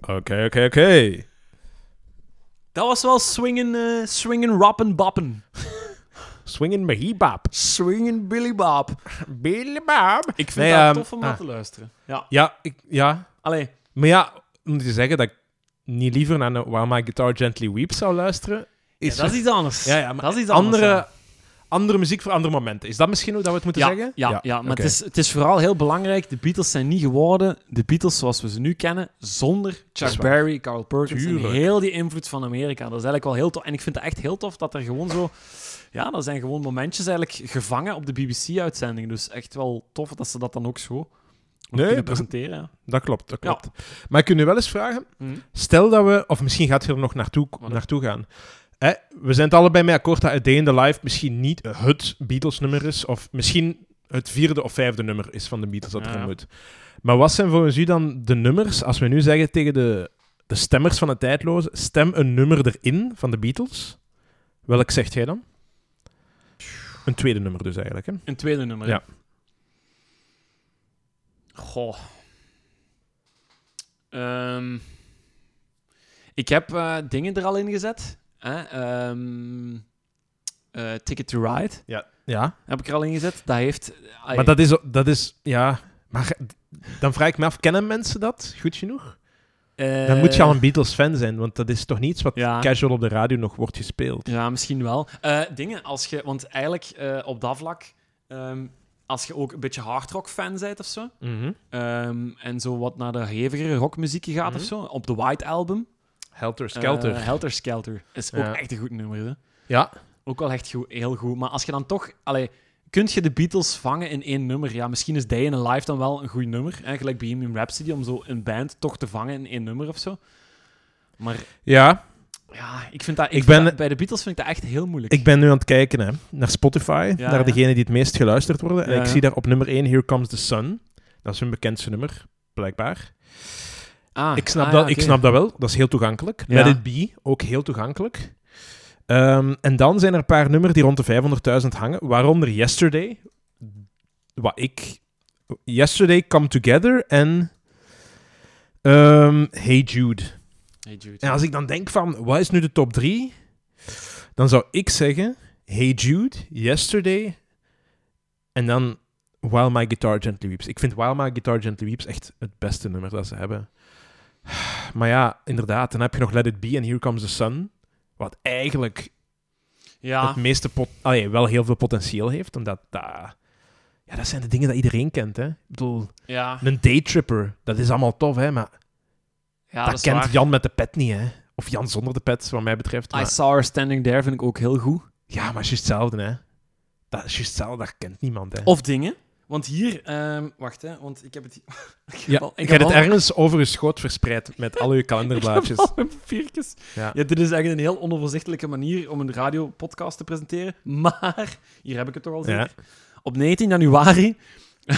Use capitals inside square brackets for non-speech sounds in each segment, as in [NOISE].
Oké, oké, oké. Dat was wel swingen, eh swingen, rappen, bappen. Swingin' Mahibab. Swingen Billy Bob. [LAUGHS] Billy Bob. Ik vind Nee, dat ehm, tof om naar ah. te luisteren. Ja. Ja, ik, ja. Allee, Maar ja, om te zeggen dat ik niet liever naar een While My Guitar Gently Weeps zou luisteren, ja, is dat is iets anders. Ja, ja, maar dat is iets anders, andere, ja. andere muziek voor andere momenten. Is dat misschien hoe dat we het moeten ja, zeggen? Ja, ja, maar oké. het, is, het is vooral heel belangrijk. De Beatles zijn niet geworden de Beatles zoals we ze nu kennen, zonder Dat is Chuck waar. Berry, Carl Perkins en Tuurlijk. heel die invloed van Amerika. Dat is eigenlijk wel heel tof. En ik vind het echt heel tof dat er gewoon zo... Ja, dat zijn gewoon momentjes eigenlijk gevangen op de BBC-uitzending. Dus echt wel tof dat ze dat dan ook zo Nee, kunnen dat- presenteren. ja. Dat klopt, dat Ja. klopt. Maar ik kun je wel eens vragen, Stel dat we, of misschien gaat je er nog naartoe, Wat? naartoe gaan. Hè, we zijn het allebei mee akkoord dat A Day in the Life misschien niet het Beatles-nummer is. Of misschien het vierde of vijfde nummer is van de Beatles dat Ja, er ja. moet. Maar wat zijn volgens u dan de nummers, als we nu zeggen tegen de, de stemmers van het tijdloze, stem een nummer erin van de Beatles? Welk zegt jij dan? Een tweede nummer dus eigenlijk. Hè? Een tweede nummer. hè? Ja. Goh. Ehm, ik heb eh, dingen er al in gezet. Hè? Ehm, eh, Ticket to Ride Ja. ja. heb ik er al in gezet. Dat heeft... Maar dat is, dat is, ja... Maar dan vraag ik me af, kennen mensen dat goed genoeg? Dan moet je al een Beatles-fan zijn, want dat is toch niets wat eh, Ja. casual op de radio nog wordt gespeeld. Ja, misschien wel. Eh, dingen als je... Want eigenlijk, eh, op dat vlak... ehm, als je ook een beetje hardrock-fan bent of zo... Mhm. ehm, en zo wat naar de hevigere rockmuziek gaat of Mhm. zo... Op de White Album... Helter Skelter. Eh, Helter Skelter. Is ook Ja. echt een goed nummer. Hè? ja, Ook wel echt goed, heel goed. Maar als je dan toch... Allee, kunt je de Beatles vangen in één nummer? Ja, misschien is Day in a Life dan wel een goed nummer. Hè? Gelijk Bohemian Rhapsody, om zo een band toch te vangen in één nummer of zo. Maar ja, ja, ik vind dat... Ik Ik vind ben- dat- bij de Beatles vind ik dat echt heel moeilijk. ik ben nu aan het kijken hè, naar Spotify, Ja, naar ja. degenen die het meest geluisterd worden. En Ja, ik ja. zie daar op nummer 1 Here Comes the Sun. Dat is hun bekendste nummer, blijkbaar. Ah, ik, snap ah, dat, ja, ik oké. snap dat wel, dat is heel toegankelijk. Ja. Let It Be, ook heel toegankelijk. Ehm, en dan zijn er een paar nummers die rond de 500.000 hangen, waaronder Yesterday, wat ik... Yesterday, Come Together en ehm, Hey Jude. Hey Jude. En als ik dan denk van, wat is nu de top 3? Dan zou ik zeggen, Hey Jude, Yesterday en dan While My Guitar Gently Weeps. Ik vind While My Guitar Gently Weeps echt het beste nummer dat ze hebben. Maar ja, inderdaad, dan heb je nog Let It Be en Here Comes the Sun, wat eigenlijk Ja, het meeste pot allee, wel heel veel potentieel heeft, omdat dat... ja, dat zijn de dingen dat iedereen kent, hè. Ik bedoel, ja, een daytripper, dat is allemaal tof, hè, maar ja, dat, dat is kent waar. Jan met de pet niet, hè. Of Jan zonder de pet, wat mij betreft. I maar- Saw Her Standing There vind ik ook heel goed. Ja, maar het is juist hetzelfde, hè. Dat is juist hetzelfde, dat kent niemand, hè. Of dingen. Want hier... ehm, wacht, hè. Want ik heb het hier... ik heb ja, al- ik heb heb het al- ergens over je schoot verspreid met al je [LAUGHS] Ik kalenderblaadjes. heb al mijn papiertjes. Ja. Ja. dit is echt een heel onoverzichtelijke manier om een radiopodcast te presenteren. Maar, hier heb ik het toch al zeker. Op 19 januari... [LAUGHS]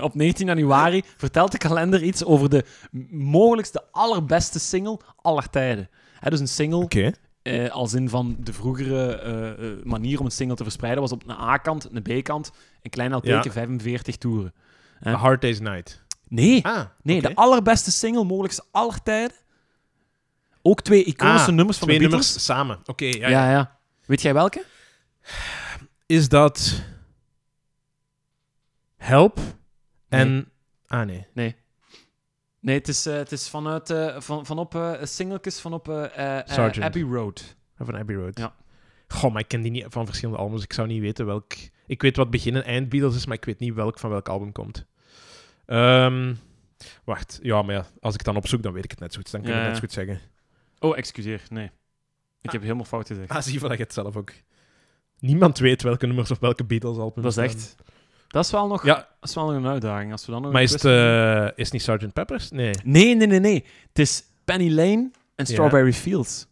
op 19 januari vertelt de kalender iets over de m- mogelijkst de allerbeste single aller tijden. Hè, dus een single Oké. eh, als in van de vroegere eh, eh, manier om een single te verspreiden was op een A-kant, een B-kant, een klein LP, Ja. 45 toeren. A Hard Day's Night. Nee, Ah, nee oké. de allerbeste single mogelijkst aller tijden. Ook twee iconische Ah, nummers van Twee de Beatles. nummers samen. Oké, ja, Ja, ja. ja, Weet jij welke? Is dat... Help en... Ah, nee. Nee, het is, eh, het is vanuit, eh, van, vanop eh singeltjes vanop eh, eh, Sergeant. Abbey Road. Van Abbey Road. Ja. Goh, maar ik ken die niet van verschillende albums. Ik zou niet weten welk... Ik weet wat begin en eind Beatles is, maar ik weet niet welk van welk album komt. Ehm, wacht. Ja, maar ja, als ik het dan opzoek, dan weet ik het net zo goed. Dan kun je Ja, het net zo ja. goed zeggen. [LAUGHS] Oh, excuseer. Nee. Ik heb helemaal fout gezegd. Ah, zie je, dat je het zelf ook. Niemand weet welke nummers of welke Beatles albums. dat is staan. echt... Dat is wel nog, Ja, dat is wel nog een uitdaging. Als we dan nog maar een is het, quiz doen. eh, is het niet Sgt. Peppers? Nee. Nee, nee, nee, nee. Het is Penny Lane en Ja. Strawberry Fields.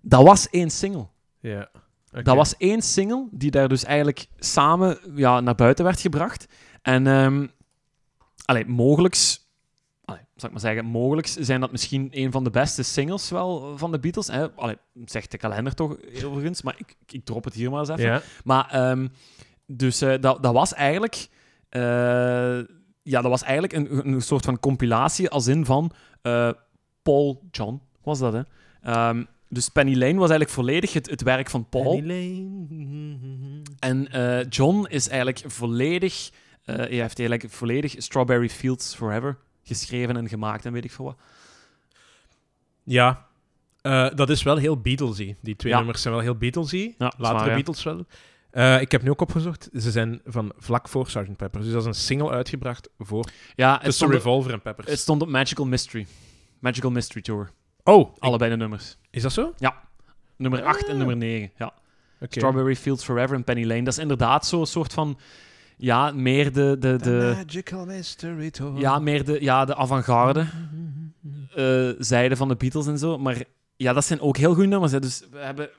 Dat was één single. Ja. Oké. Dat was één single die daar dus eigenlijk samen ja, naar buiten werd gebracht. En ehm allee, mogelijks, allee, zal ik maar zeggen, mogelijks zijn dat misschien een van de beste singles wel van de Beatles. Hè? Allee, zegt de kalender toch overigens, maar ik, ik drop het hier maar eens even. Ja. Maar ehm, dus eh, dat, dat was eigenlijk. eh, ja, dat was eigenlijk een, een soort van compilatie als in van eh, Paul John was dat, hè. Ehm, dus Penny Lane was eigenlijk volledig het, het werk van Paul. Penny Lane. En eh, John is eigenlijk volledig, eh, hij heeft eigenlijk volledig Strawberry Fields Forever geschreven en gemaakt en weet ik veel wat. Ja. Eh, dat is wel heel Beatlesy. Die twee Ja. nummers zijn wel heel Beatlesy. Ja, Latere zwaar, hè? Beatles wel. Eh, ik heb nu ook opgezocht, ze zijn van vlak voor Sgt. Pepper. Dus dat is een single uitgebracht voor Ja, het tussen stond, op, Revolver en Peppers. het stond op Magical Mystery. Magical Mystery Tour. Oh, ik- Allebei de nummers. is dat zo? Oké. Nummer 8 en Ah. nummer 9. Ja. Strawberry Fields Forever en Penny Lane. Dat is inderdaad zo'n soort van. Ja, meer de. de, de Magical Mystery Tour. ja, meer de, ja, de avant-garde Mm. eh, zijde van de Beatles en zo. Maar ja, dat zijn ook heel goede nummers. Hè. Dus we hebben, we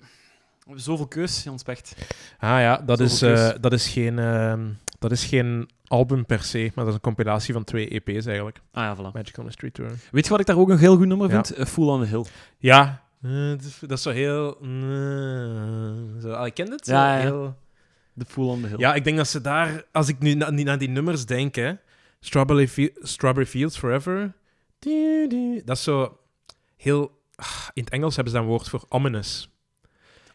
hebben zoveel keus, Jan Specht. Ah ja, dat, is, Zoveel eh, keus. dat, is geen, ehm, dat is geen album per se, maar dat is een compilatie van twee EP's eigenlijk. Ah ja, voilà. Magical Mystery Tour. Weet je wat ik daar ook een heel goed nummer Ja. vind? Eh, Fool on the Hill. Ja, eh, dat is- dat is zo heel... eh, zo, ah, ik ken het. zo Ja, ja. heel- De Fool on the Hill. Ja, ik denk dat ze daar, als ik nu na- naar die nummers denk, hè, Strawberry, Fi- Strawberry Fields Forever, die- die- dat is zo heel. ah, In het Engels hebben ze daar een woord voor ominous.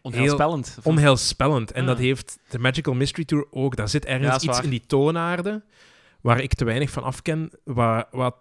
Onheilspellend. Of- Onheilspellend. En Ah. dat heeft de Magical Mystery Tour ook. Daar zit Ja, ergens is iets waar. in die toonaarde waar ik te weinig van afken. Waar, wat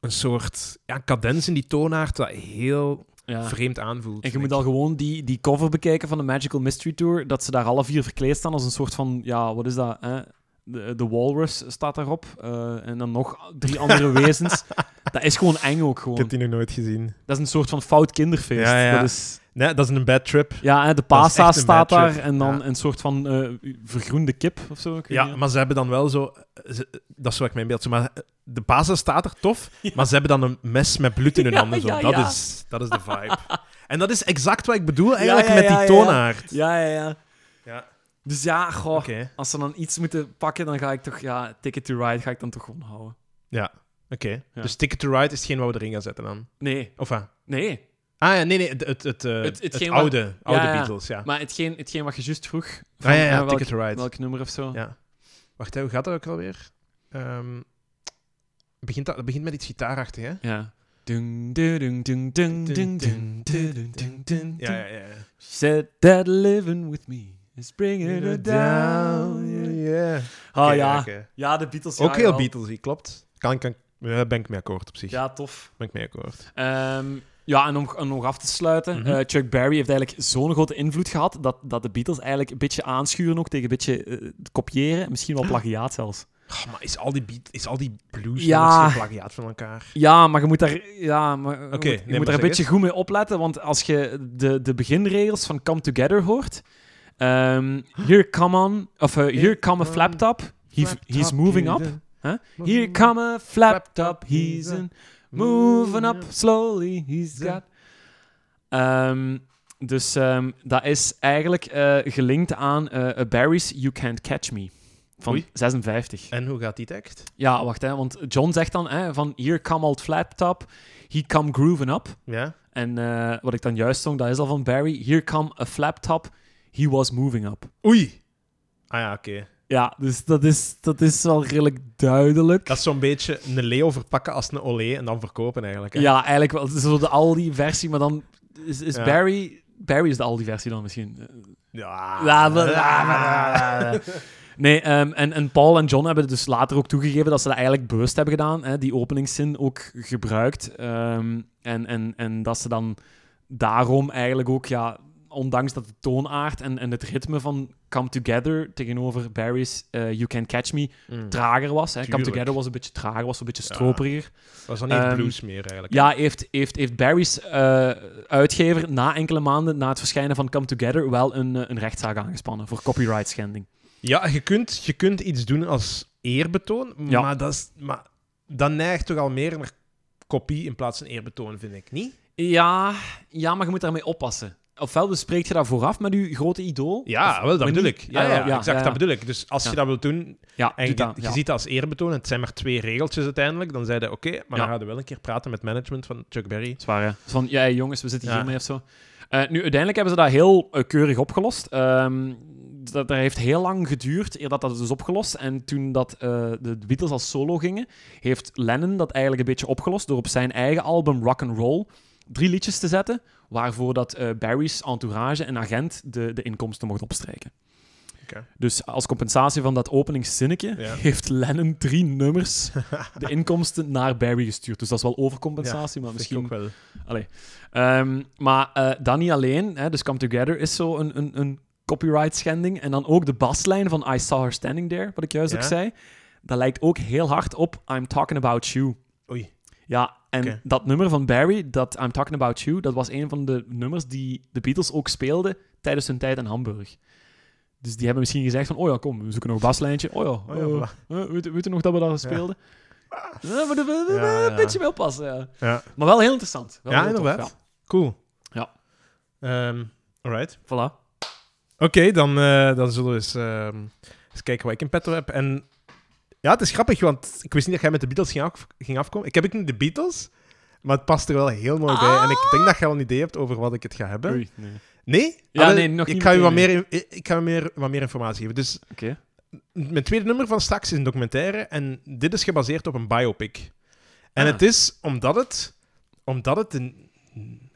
een soort ja, cadens in die toonaard dat heel ja. vreemd aanvoelt. En je denk moet ik. al gewoon die, die cover bekijken van de Magical Mystery Tour. Dat ze daar alle vier verkleed staan als een soort van, ja, wat is dat? Hè? De, de Walrus staat daarop. eh, en dan nog drie [LAUGHS] andere wezens. Dat is gewoon eng ook Ik gewoon. heb die nog nooit gezien. Dat is een soort van fout kinderfeest. Ja, ja. Dat is, Nee, dat is een bad trip. ja hè, de Dat is pasta echt een staat bad trip. daar. En dan Ja. een soort van eh, vergroende kip of zo. ik weet Ja, niet. maar ze hebben dan wel zo... ze- dat is wat ik mijn beeld zo... Maar de basis staat er, [LAUGHS] tof. Maar ze hebben dan een mes met bloed in hun Ja, handen. Zo. ja, dat, ja. Is, dat is de [LAUGHS] vibe. en dat is exact wat ik bedoel eigenlijk ja, met ja, die ja. toonaard. ja, ja, ja. Ja. Dus ja, goh. Oké. Als ze dan iets moeten pakken, dan ga ik toch, ja, Ticket to Ride ga ik dan toch gewoon houden. Oké. Ja. Dus Ticket to Ride is hetgeen wat we erin gaan zetten dan. Nee, Of wat? nee. Ah ja, nee, nee. Het, het, het, eh, Het- het, hetgeen wat- oude, oude ja, ja. Beatles, ja. Maar hetgeen, hetgeen wat je juist vroeg. ah, ja, ja, eh, welk- Ticket to Ride. Welk nummer of zo? Ja. Wacht, hè, hoe gaat dat ook alweer? Ehm begint dat, dat begint met iets gitaarachtig, hè? Ja. Dung, dung, dung, dung, dung, dung, dung, dung, dung. Ja, ja, ja. ja. Said that living with me is bringing Bring it it down. down, yeah. yeah. Ah Oké, ja. oké. Ja, de Beatles. Ook ja, heel jawel. Beatlesy, klopt. Kan, kan, ja, ben ik mee akkoord op zich. Ja, tof. Ben ik mee akkoord. Ehm, ja, en om, om nog af te sluiten. Mhm. eh, Chuck Berry heeft eigenlijk zo'n grote invloed gehad dat, dat de Beatles eigenlijk een beetje aanschuren ook tegen een beetje eh, kopiëren. Misschien wel plagiaat zelfs. maar is al die, beat, is al die blues Ja. ja. plagiaat van elkaar? Ja, maar je moet daar, ja, maar, je moet- nee, je maar moet daar zeg een beetje eens. goed mee opletten. Want als je de, de beginregels van Come Together hoort... ehm, here come on... Of eh, here come a flap top, he- he's moving up. Huh? Here come a flap top, he's a moving up slowly, he's got... Ehm, dus ehm, dat is eigenlijk eh, gelinkt aan eh, Barry's You Can't Catch Me. Van Oei. 56. En hoe gaat die tekst? Ja, wacht hè, want John zegt dan hè, van here come old flap top, he come grooving up. Ja? En eh, wat ik dan juist zong, dat is al van Barry. Here come a flap top, he was moving up. Oei! Ah ja, oké. Ja, dus dat is, dat is wel redelijk duidelijk. Dat is zo'n beetje een Leo verpakken als een Olé en dan verkopen eigenlijk. Hè? ja, eigenlijk wel. Het is zo de Aldi-versie, maar dan is, is Ja. Barry... Barry is de Aldi-versie dan misschien. Ja. La, [LAUGHS] la, la, la, la. Nee, ehm, en, en Paul en John hebben dus later ook toegegeven dat ze dat eigenlijk bewust hebben gedaan. Hè, die openingszin ook gebruikt. Ehm, en, en, en dat ze dan daarom eigenlijk ook, ja, ondanks dat de toonaard en, en het ritme van Come Together tegenover Barry's eh, You Can Catch Me Mm. trager was. Hè. Come Tuurlijk. Together was een beetje trager, was een beetje Ja. stroperiger. Was dan niet Ehm, blues meer eigenlijk? Ja, heeft, heeft, heeft Barry's eh, uitgever na enkele maanden na het verschijnen van Come Together wel een, eh, een rechtszaak aangespannen voor copyright schending. Ja, je kunt, je kunt iets doen als eerbetoon, Ja. maar, dat is, maar dat neigt toch al meer naar kopie in plaats van eerbetoon, vind ik niet. Ja, ja, maar je moet daarmee oppassen. Ofwel bespreek je dat vooraf met je grote idool. Ja, of, wel, dat maar bedoel niet- ik. Ja, Ah, ja, ja, ja, exact, ja, ja. dat bedoel ik. Dus als Ja. je dat wilt doen, ja, en je, doe dat, je ja. ziet dat als eerbetoon, en het zijn maar twee regeltjes uiteindelijk, dan zei je, oké, maar Ja. dan gaan we wel een keer praten met management van Chuck Berry. Zwaar, hè? Van, ja, jongens, we zitten Ja. hiermee of zo. Eh, nu, uiteindelijk hebben ze dat heel eh, keurig opgelost. Ehm, dat, dat heeft heel lang geduurd eer dat dat is opgelost. En toen dat, eh, de Beatles als solo gingen, heeft Lennon dat eigenlijk een beetje opgelost door op zijn eigen album Rock and Roll drie liedjes te zetten, waarvoor dat eh, Barry's entourage en agent de, de inkomsten mocht opstrijken. Oké. Dus als compensatie van dat openingszinnetje Ja. heeft Lennon drie [LAUGHS] nummers de inkomsten naar Barry gestuurd. Dus dat is wel overcompensatie, maar misschien ook wel. Ehm, maar eh dat niet alleen. Hè, dus Come Together is zo een, een, een copyright schending. En dan ook de baslijn van I Saw Her Standing There, wat ik juist Ja. ook zei. Dat lijkt ook heel hard op I'm Talking About You. Oei. Ja, en Oké. dat nummer van Barry, dat I'm Talking About You, dat was een van de nummers die de Beatles ook speelden tijdens hun tijd in Hamburg. Dus die hebben misschien gezegd van, oh ja, kom, we zoeken nog een baslijntje. Oh ja, Oh ja, eh, voilà. eh, weet, weet je nog dat we daar speelden? Eh, maar daar- daar- daar- Ja, ja. Een beetje mee oppassen, ja. Ja, Maar wel heel interessant. Wel ja heel tof, inderdaad. Cool. Ja. Ehm, alright. ja. Voilà. Oké, dan, eh, dan zullen we eens, ehm, eens kijken wat ik in petto heb. En ja, het is grappig, want ik wist niet dat jij met de Beatles ging, af- ging afkomen. Ik heb ook niet de Beatles, maar het past er wel heel mooi bij. En ik denk dat jij al een idee hebt over wat ik het ga hebben. Oei, nee. Oké. Nee? Ja, Ah, wel, nee, nog ik niet Ga u wat meteen, meer, in- ik ga u meer, wat meer informatie geven. Dus mijn tweede nummer van straks is een documentaire. En dit is gebaseerd op een biopic. En Ah. het is, omdat het, omdat het een,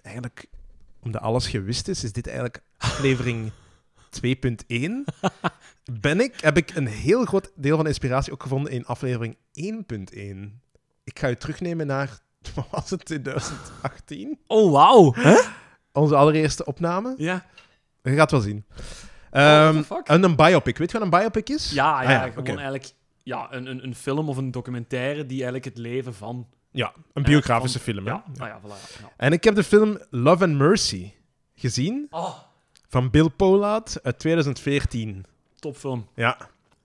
eigenlijk, omdat alles gewist is, is dit eigenlijk aflevering [LAUGHS] 2.1. Ben ik, heb ik een heel groot deel van de inspiratie ook gevonden in aflevering 1.1. Ik ga u terugnemen naar, [LAUGHS] wat was het, 2018? Oh, wauw. Onze allereerste opname. Ja. Je gaat wel zien. what the Ehm, fuck? en een biopic. Weet je wat een biopic is? Ja, Ah ja, gewoon oké. eigenlijk ja, een, een, een film of een documentaire die eigenlijk het leven van... Ja, een biografische van- film. hè? Ja, nou ja, voilà. ja. En ik heb de film Love and Mercy gezien Oh, van Bill Pollard uit 2014. topfilm. Ja.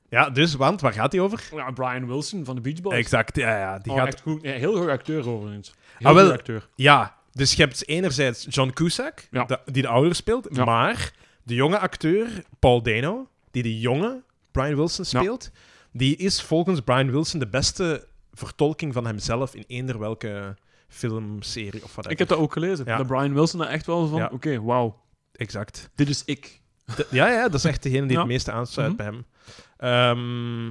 Ja, dus, want waar gaat die over? Ja, Brian Wilson van de Beach Boys. Exact, ja, ja. Die Oh, gaat, echt goed. Ja, heel goed acteur overigens. Heel Ah, wel. goed acteur. ja. Dus je hebt enerzijds John Cusack, Ja. de- die de ouder speelt, Ja. maar de jonge acteur Paul Dano, die de jonge Brian Wilson Ja. speelt, die is volgens Brian Wilson de beste vertolking van hemzelf in eender welke filmserie of wat Ik heb dat ook gelezen. Ja. Dat Brian Wilson daar echt wel van... Ja. Oké, wauw. Exact. Dit is ik. De- ja, ja, dat is echt degene die Ja. het meeste aansluit bij hem. Ehm,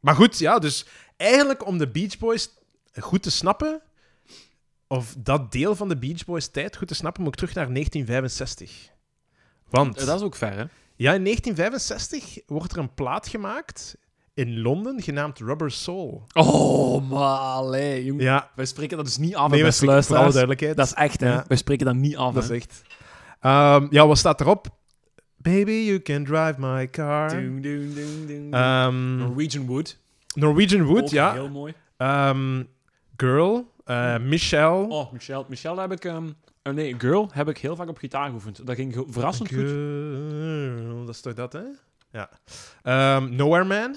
maar goed, ja, dus eigenlijk om de Beach Boys goed te snappen, of dat deel van de Beach Boys tijd goed te snappen, moet ik terug naar 1965. Want Eh, Dat is ook ver, hè? ja, in 1965 wordt er een plaat gemaakt in Londen genaamd Rubber Soul. Oh, maar nee, jongen. Ja, Wij spreken dat dus niet af, nee, nee, we beste spreken- voor alle luisteraars. duidelijkheid. Dat is echt, hè? Ja. Wij spreken dat niet af, Dat is hè? echt. Ehm, ja, wat staat erop? Baby, you can drive my car. Doen, doen, doen, doen. Ehm, Norwegian Wood. Norwegian Wood, Ook ja. Heel mooi. Ehm, girl, eh, Michelle. Oh, Michelle. Michelle heb ik... ehm, eh, nee, Girl heb ik heel vaak op gitaar geoefend. Dat ging ge- verrassend goed. girl, dat is toch dat, hè? Ja. Ehm, Nowhere Man.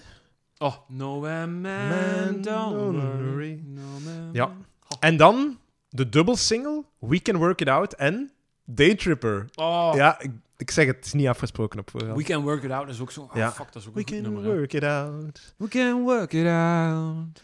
Oh, No Man, Man, man don't Don't worry. Worry. No Man, Ja. man. En dan de dubbel single We Can Work It Out en Daytripper. Oh, Ja, ik, ik zeg het, het is niet afgesproken op voorhand. We Can Work It Out is ook zo... Ah, Ja. fuck, dat is ook We een goed can nummer. hè. work it out. We Can Work It Out.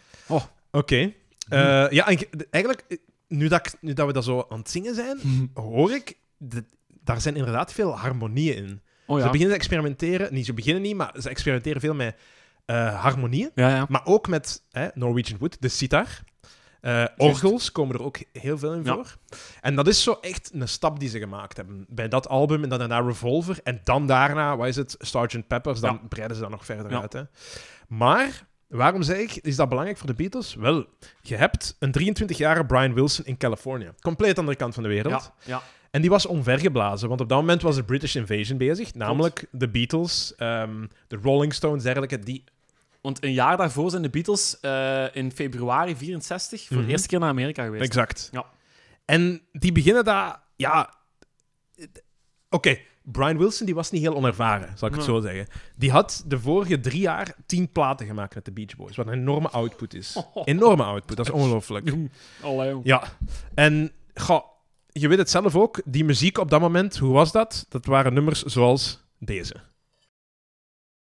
Oké. Hm. Eh, ja, en ge- de- eigenlijk, eh, nu dat, ik- nu dat we dat zo aan het zingen zijn, hoor ik, de- daar zijn inderdaad veel harmonieën in. [LAUGHS] Oh Ze ja. beginnen te experimenteren. Niet, ze beginnen niet, maar ze experimenteren veel met eh, harmonieën. Ja, ja. Maar ook met hè, Norwegian Wood, de sitar. Eh, orgels komen er ook heel veel in Ja. voor. En dat is zo echt een stap die ze gemaakt hebben. Bij dat album en dan daarna Revolver. En dan daarna, wat is het, Sgt. Peppers. Dan breiden ze dat nog verder Ja. uit. Hè. Maar, waarom zeg ik, is dat belangrijk voor de Beatles? Wel, je hebt een 23-jarige Brian Wilson in Californië. Compleet andere kant van de wereld. Ja, ja. En die was omvergeblazen, want op dat moment was de British Invasion bezig. Namelijk de Beatles, ehm, de Rolling Stones, dergelijke. Die... Want een jaar daarvoor zijn de Beatles eh, in februari 64 voor Mhm. de eerste keer naar Amerika geweest. Exact. Ja. En die beginnen daar... Ja... het- Oké, Brian Wilson die was niet heel onervaren, zal ik het Nee. zo zeggen. Die had de vorige drie jaar tien platen gemaakt met de Beach Boys. Wat een enorme output is. Enorme output, dat is ongelooflijk. Allee, jong. Ja, en goh, je weet het zelf ook, die muziek op dat moment, hoe was dat? Dat waren nummers zoals deze.